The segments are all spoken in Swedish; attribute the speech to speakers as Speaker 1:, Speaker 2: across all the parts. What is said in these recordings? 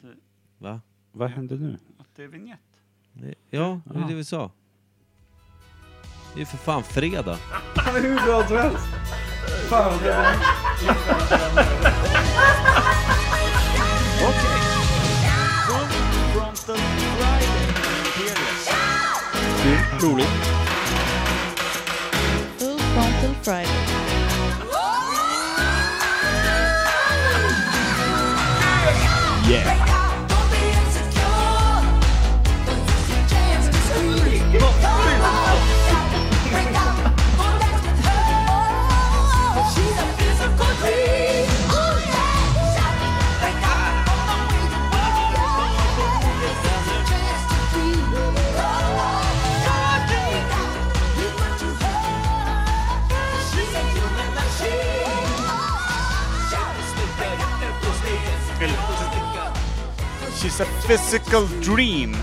Speaker 1: det,
Speaker 2: Va?
Speaker 3: Vad händer nu?
Speaker 1: att det är vignett.
Speaker 2: Det- Ja, det är det vi sa. Det är ju för fan fredag.
Speaker 3: Han är hur bra som helst. Fan, det var...
Speaker 1: Frontal Friday. Imperius.
Speaker 3: Roligt.
Speaker 4: Full Frontal Friday.
Speaker 1: She's a physical dream.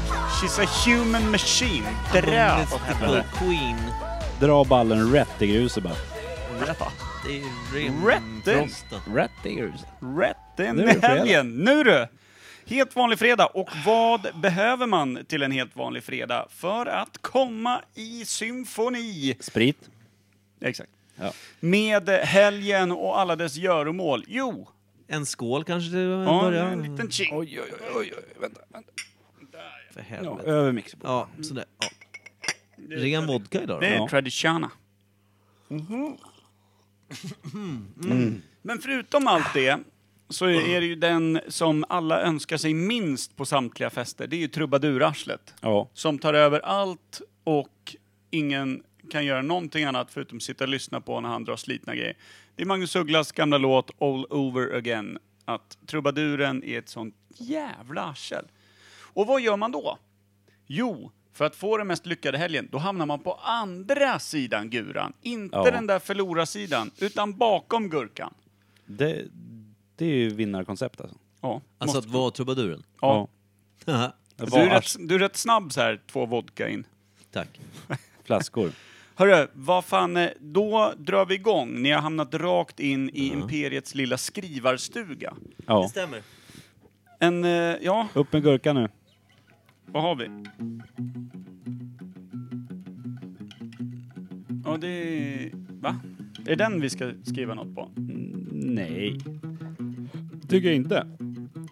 Speaker 1: She's a human machine. Drö åt helvete.
Speaker 2: Queen.
Speaker 3: Dra ballen rätt i gruset bara.
Speaker 2: Det är
Speaker 1: Rätten.
Speaker 2: rimfrosten.
Speaker 3: Rätt i gruset.
Speaker 1: Rätt in
Speaker 3: Nu är
Speaker 1: i
Speaker 3: det fredag.
Speaker 1: helgen! Nu du! Helt vanlig fredag. Och vad behöver man till en helt vanlig fredag för att komma i symfoni?
Speaker 3: Sprit.
Speaker 1: Exakt.
Speaker 3: Ja.
Speaker 1: Med helgen och alla dess göromål. Jo,
Speaker 2: En skål kanske till en
Speaker 1: ja,
Speaker 2: början.
Speaker 1: en liten ching.
Speaker 3: Oj, oj, oj, oj. Vänta.
Speaker 2: För
Speaker 3: Ja,
Speaker 2: helvete.
Speaker 3: över mixerbordet.
Speaker 2: Ja, sådär. Ja. Ren vodka idag
Speaker 1: Det
Speaker 2: då?
Speaker 1: är
Speaker 3: Ja.
Speaker 1: traditiona. Mhm. Mm. Men förutom allt det så är det ju den som alla önskar sig minst på samtliga fester. Det är ju trubadurarslet.
Speaker 3: Ja.
Speaker 1: Som tar över allt och ingen kan göra någonting annat förutom sitta och lyssna på när han drar slitna grejer. Det är Magnus Ugglas gamla låt All Over Again. Att trubaduren är ett sånt jävla arsel. Och vad gör man då? Jo, för att få den mest lyckade helgen, då hamnar man på andra sidan guran. Inte
Speaker 3: Ja.
Speaker 1: den där förlorarsidan, utan bakom gurkan.
Speaker 3: Det, det är ju vinnarkoncept alltså.
Speaker 1: Ja,
Speaker 2: Alltså att
Speaker 1: måste-
Speaker 2: vara trubaduren?
Speaker 1: ja.
Speaker 3: Det
Speaker 1: Du, är
Speaker 3: var
Speaker 1: rätt, du är rätt snabb så här, två vodka in.
Speaker 2: Tack.
Speaker 3: flaskor.
Speaker 1: Hörru, vad fan, eh, då drar vi igång. Ni har hamnat rakt in i Imperiets lilla skrivarstuga.
Speaker 3: Ja.
Speaker 2: stämmer.
Speaker 1: En, eh, ja,
Speaker 3: Upp med gurkan nu.
Speaker 1: vad har vi? Ja, det är... Va? Är det den vi ska skriva något på?
Speaker 3: Nej. Tycker jag inte.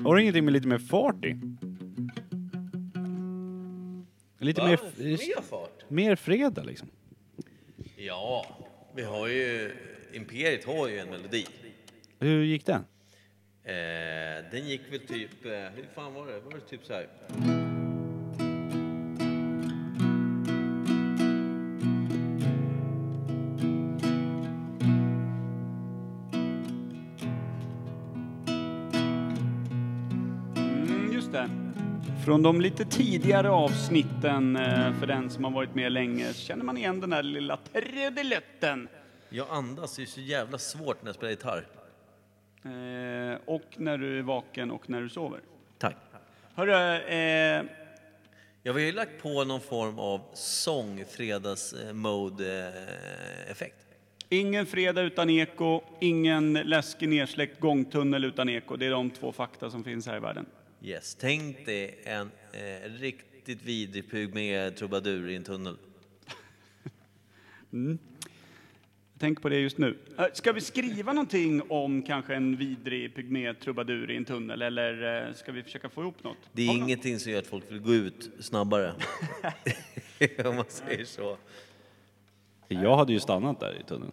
Speaker 3: Har du ingenting med lite mer fart i? Lite mer,
Speaker 5: Mer fart?
Speaker 3: mer fredag liksom.
Speaker 5: Ja, vi har ju... Imperiet har ju en melodi.
Speaker 3: Hur gick den?
Speaker 5: Eh, den gick väl typ... Eh, hur fan var det? Var det typ så här?
Speaker 1: Mm, just det. Från de lite tidigare avsnitten, eh, för den som har varit med länge, så känner man igen den där lilla trudelutten.
Speaker 5: Jag andas, det är så jävla svårt när jag spelar gitarr.
Speaker 1: Eh, Och när du är vaken och när du sover.
Speaker 5: Tack.
Speaker 1: Hörru, eh,
Speaker 5: Jag har ju lagt på någon form av sång-fredags-mode-effekt.
Speaker 1: Ingen fredag utan eko, ingen läskig nersläckt gångtunnel utan eko. Det är de två fakta som finns här i världen.
Speaker 5: Yes, tänk dig en eh, riktigt vidrig pug med trubadur i en tunnel.
Speaker 1: Tänk på det just nu. Eh, Ska vi skriva någonting om kanske en vidrig pygmé-trubadur i en tunnel eller eh, ska vi försöka få ihop något?
Speaker 5: Det är
Speaker 1: Har vi något?
Speaker 5: ingenting som gör att folk vill gå ut snabbare. Om man säger så.
Speaker 3: Jag hade ju stannat där i tunneln.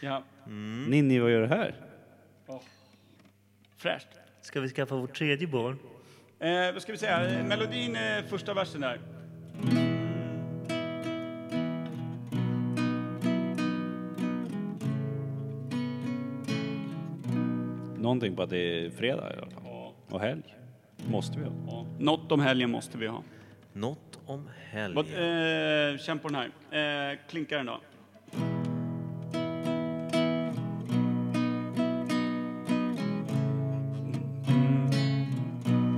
Speaker 1: Ja,
Speaker 3: Ninni, vad gör du här?
Speaker 1: fräscht.
Speaker 6: Ska vi skaffa vårt tredje barn?
Speaker 1: Eh, vad ska vi säga? Eh, Melodin är första versen där.
Speaker 3: Någonting på att det är fredag i alla fall. Och helg. Måste vi ha.
Speaker 1: Ja. Något om helgen måste vi ha.
Speaker 5: Något om
Speaker 1: Vad,
Speaker 5: helgen.
Speaker 1: eh, känn på den här. Eh, klinkar den då.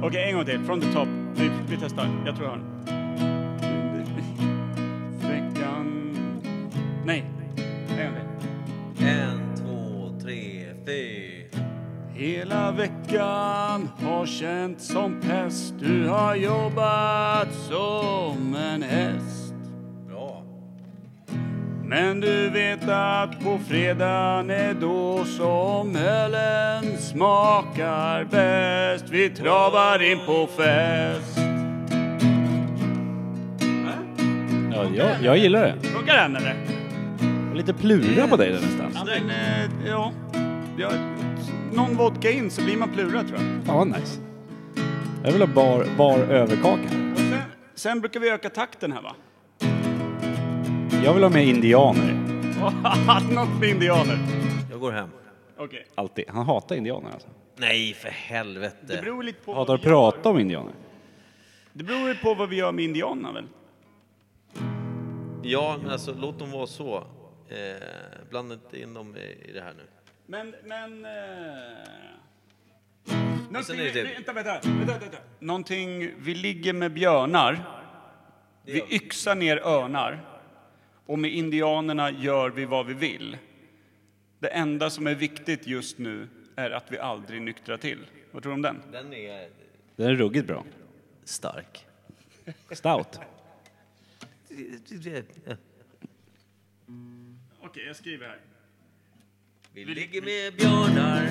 Speaker 1: Okej, en gång till. Från the top. Vi, vi testar. Jag tror jag har den. Veckan... Nej. En gång till.
Speaker 5: En, två, tre, fyra.
Speaker 1: Hela Hela veckan har känt som pest. Du har jobbat som en häst.
Speaker 5: Bra.
Speaker 1: Men du vet att på fredagen är då som ölen smakar bäst. Vi travar in på fest.
Speaker 3: Ja, jag, jag gillar det.
Speaker 1: Funkar den eller?
Speaker 3: Lite plura på dig där nästan.
Speaker 1: men, eh, ja. ja. Någon vodka in så blir man plura tror jag.
Speaker 3: Fan vad nice. Jag vill ha bar, bar överkaka.
Speaker 1: Sen, sen brukar vi öka takten här va?
Speaker 3: Jag vill ha med indianer.
Speaker 1: Något med indianer.
Speaker 5: Jag går hem.
Speaker 1: Okej.
Speaker 3: Alltid. Han hatar indianer alltså.
Speaker 5: Nej, för
Speaker 1: Det
Speaker 5: helvete.
Speaker 1: beror lite på,
Speaker 3: Hatar
Speaker 1: vad
Speaker 3: att
Speaker 1: vi, gör.
Speaker 3: prata om indianer.
Speaker 1: det beror ju på vad vi gör med indianerna väl?
Speaker 5: Ja, men alltså låt dem vara så. Eh, blanda inte in dem i, i det här nu.
Speaker 1: Men, men... Eh... Någonting,
Speaker 5: är det det.
Speaker 1: vänta, vänta, vänta, vänta. Någonting, vi ligger med björnar. Vi yxar ner örnar. Och med indianerna gör vi vad vi vill. Det enda som är viktigt just nu är att vi aldrig nyktrar till. Vad tror du om den?
Speaker 5: Den är
Speaker 3: Den är ruggigt bra.
Speaker 5: stark.
Speaker 3: Stout.
Speaker 1: Okej, jag skriver här.
Speaker 5: Vi ligger med björnar.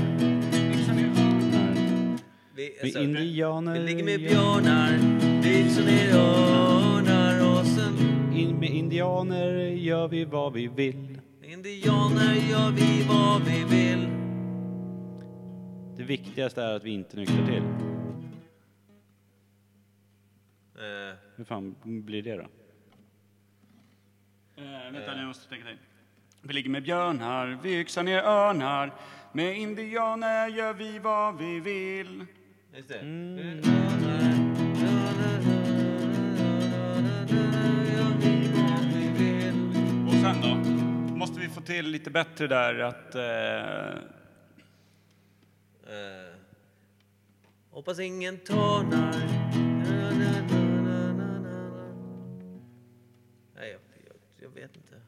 Speaker 5: Vi,
Speaker 3: Vi indianer...
Speaker 5: vi ligger med björnar. Vi yxar ner örnar och sen
Speaker 3: In, med indianer gör vi vad vi vill.
Speaker 5: indianer gör vi vad vi vill.
Speaker 3: Det viktigaste är att vi inte nyktrar till.
Speaker 5: Eh,
Speaker 3: Hur fan blir det då?
Speaker 1: Eh, vänta, jag måste tänka till. Vi ligger med björnar, vi yxar ner örnar. Med indianer gör vi vad vi vill.
Speaker 5: just det. Örnar, örnar, örnar gör vi vad vi vill.
Speaker 1: Och sen då? Måste vi få till lite bättre där att... Eh,
Speaker 5: Eh, hoppas ingen tånar. Na, na, na, na, na, na, na. Nej, jag, jag, jag vet inte.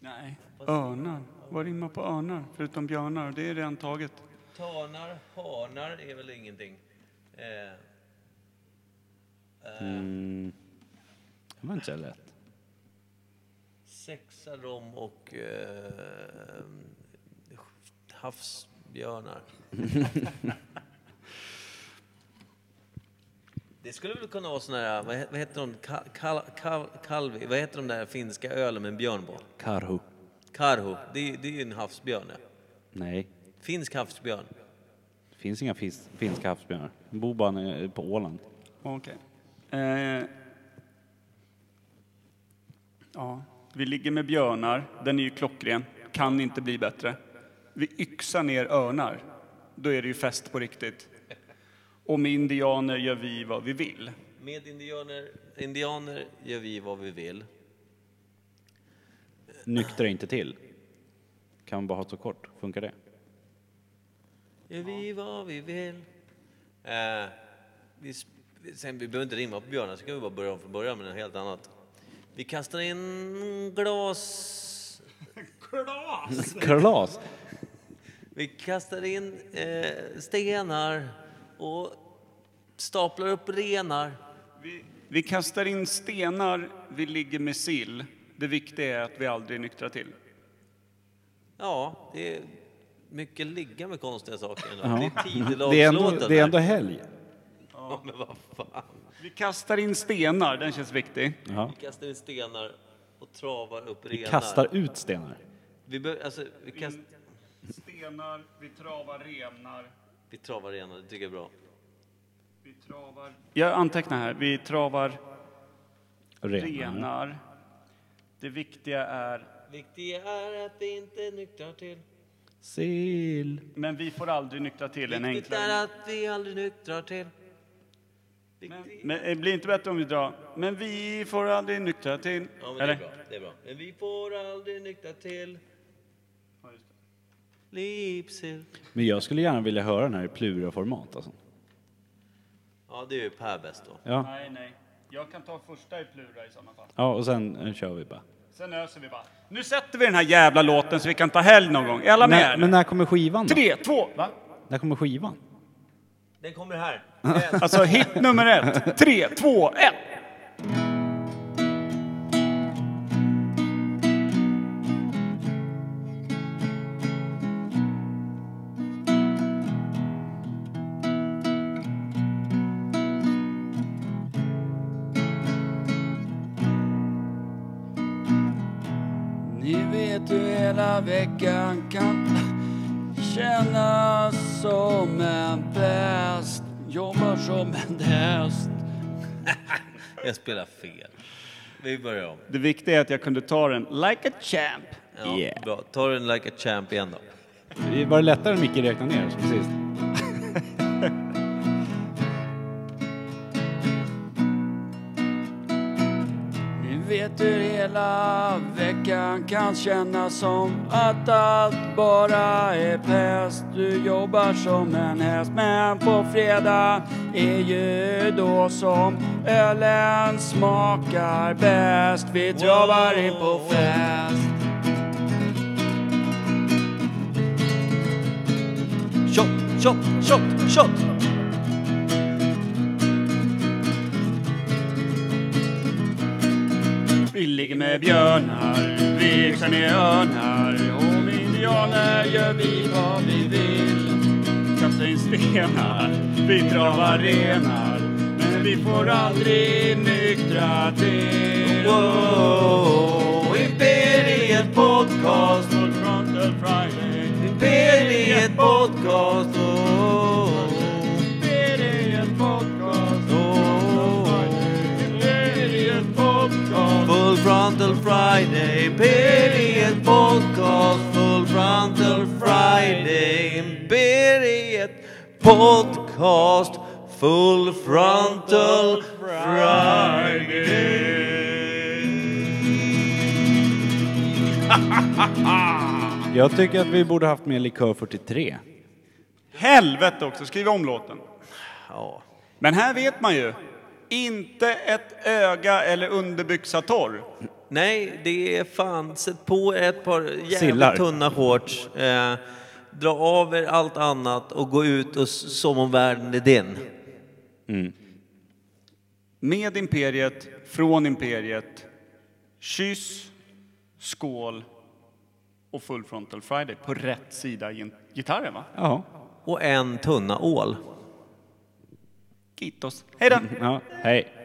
Speaker 1: nej. Örnar. Vad rimmar på örnar? Förutom björnar. Det är redan taget.
Speaker 5: Tanar, hanar är väl ingenting. Eh,
Speaker 3: Det var inte så lätt.
Speaker 5: sexa rom och eh, havsbjörnar. Det skulle väl kunna vara sån här, vad he- vad heter de, kal, kal, kal, kalvi, vad heter de där finska ölen med en björn på?
Speaker 3: Karhu.
Speaker 5: Karhu, det, det är ju en havsbjörn. Ja.
Speaker 3: Nej,
Speaker 5: Finsk havsbjörn.
Speaker 3: det finns inga fis, finska havsbjörnar. De bor bara nere på Åland.
Speaker 1: Okej. Eh, ja, vi ligger med björnar. Den är ju klockren. Kan inte bli bättre. Vi yxar ner örnar. Då är det ju fest på riktigt. Och med indianer gör vi vad vi vill.
Speaker 5: Med indianer, indianer gör vi vad vi vill.
Speaker 3: Nyktrar inte till. Kan man bara ha så kort? Funkar det?
Speaker 5: Gör vi vad vi vill. Eh, vi, sp- sen, vi behöver inte rimma på björnar, så kan vi bara börja om från början med något helt annat. Vi kastar in glas...
Speaker 3: Kalas!
Speaker 5: Vi kastar in eh, stenar och staplar upp renar.
Speaker 1: Vi, vi kastar in stenar, vi ligger med sill. Det viktiga är att vi aldrig nyktrar till.
Speaker 5: Ja, det är mycket ligga med konstiga saker. ändå.
Speaker 3: Ja.
Speaker 5: Det är
Speaker 3: Det är ändå,
Speaker 5: tidelagslåten.
Speaker 3: det är
Speaker 5: här.
Speaker 3: ändå helg.
Speaker 5: Ja, men vad fan.
Speaker 1: Vi kastar in stenar, den känns viktig.
Speaker 3: Ja.
Speaker 5: Vi kastar in stenar och travar upp renar.
Speaker 3: Kastar ut stenar.
Speaker 5: Vi, bör, alltså, vi, kast,
Speaker 1: Stenar, vi travar renar,
Speaker 5: vi travar renar, det tycker jag är bra.
Speaker 1: vi travar... Jag antecknar här, vi travar
Speaker 3: Renar.
Speaker 1: renar. Det viktiga är...
Speaker 5: Viktigt är att vi inte nyktrar till.
Speaker 3: Sill.
Speaker 1: Men vi får aldrig nyktra till en
Speaker 5: Viktigt är
Speaker 1: enklare...
Speaker 5: att vi aldrig nyktrar till.
Speaker 1: Men,
Speaker 5: Viktigt-
Speaker 1: men det blir inte bättre om vi drar... Men vi får aldrig nyktra till...
Speaker 5: Ja, men det är bra. Det är bra. Men vi får aldrig nyktra till.
Speaker 1: Ja, just det.
Speaker 5: Lipsill.
Speaker 3: Men jag skulle gärna vilja höra den här i pluraformat alltså.
Speaker 5: Ja, det är ju Per bäst då.
Speaker 3: Ja.
Speaker 1: Nej, nej. Jag kan ta första i plura i sådana fall.
Speaker 3: ja, och sen eh, kör vi bara.
Speaker 1: Sen öser vi bara. Nu sätter vi den här jävla låten så vi kan ta helg någon gång. Är alla med?
Speaker 3: När, men när kommer skivan då?
Speaker 1: Tre, två, va?
Speaker 3: När kommer skivan?
Speaker 5: Den kommer här.
Speaker 1: Alltså hit nummer ett. Tre, två, ett!
Speaker 4: Ni vet hur hela veckan kan kännas som en pest. Jobbar som en häst.
Speaker 5: Jag spelar fel. Vi börjar om.
Speaker 1: Det viktiga är att jag kunde ta den like a champ.
Speaker 5: Ja,
Speaker 3: Yeah.
Speaker 5: Bra. Ta den like a champ igen då.
Speaker 3: Var det lättare än Micke räknade ner oss precis?
Speaker 4: Ni vet hur hela veckan kan kännas som att allt bara är pest. Du jobbar som en häst men på fredag är ju då som ölen smakar bäst. Vi travar in på fest.
Speaker 5: Shot, shot, shot, shot!
Speaker 1: Vi ligger med björnar, vi yxar ner örnar. Och med indianer gör vi vad vi vill. Kastar in stenar, vi travar renar. Men vi får aldrig nyktra till.
Speaker 5: Wow, Imperiet podcast,
Speaker 1: Full frontal Friday.
Speaker 5: Imperiet podcast. Oh,
Speaker 1: Imperiet podcast.
Speaker 5: oh.
Speaker 1: Imperiet podcast.
Speaker 5: Full frontal Friday, Imperiet podcast. Full frontal Friday, Imperiet podcast. Full frontal Friday.
Speaker 3: Jag tycker att vi borde haft med Likör 43.
Speaker 1: Helvete också, skriv om låten.
Speaker 5: Ja.
Speaker 1: Men här vet man ju. Inte ett öga eller underbyxa torr.
Speaker 5: Nej, det är fan, sätt på ett par jävligt
Speaker 3: Sillar.
Speaker 5: tunna shorts. Eh, dra av er allt annat och gå ut och s- som om världen är din.
Speaker 1: Med Imperiet, från Imperiet. Kyss, skål och Full Frontal Friday på rätt sida i en- gitarren va?
Speaker 3: Ja.
Speaker 5: Och en tunna ål.
Speaker 1: Kitos. Hej då!
Speaker 3: ja. Hej.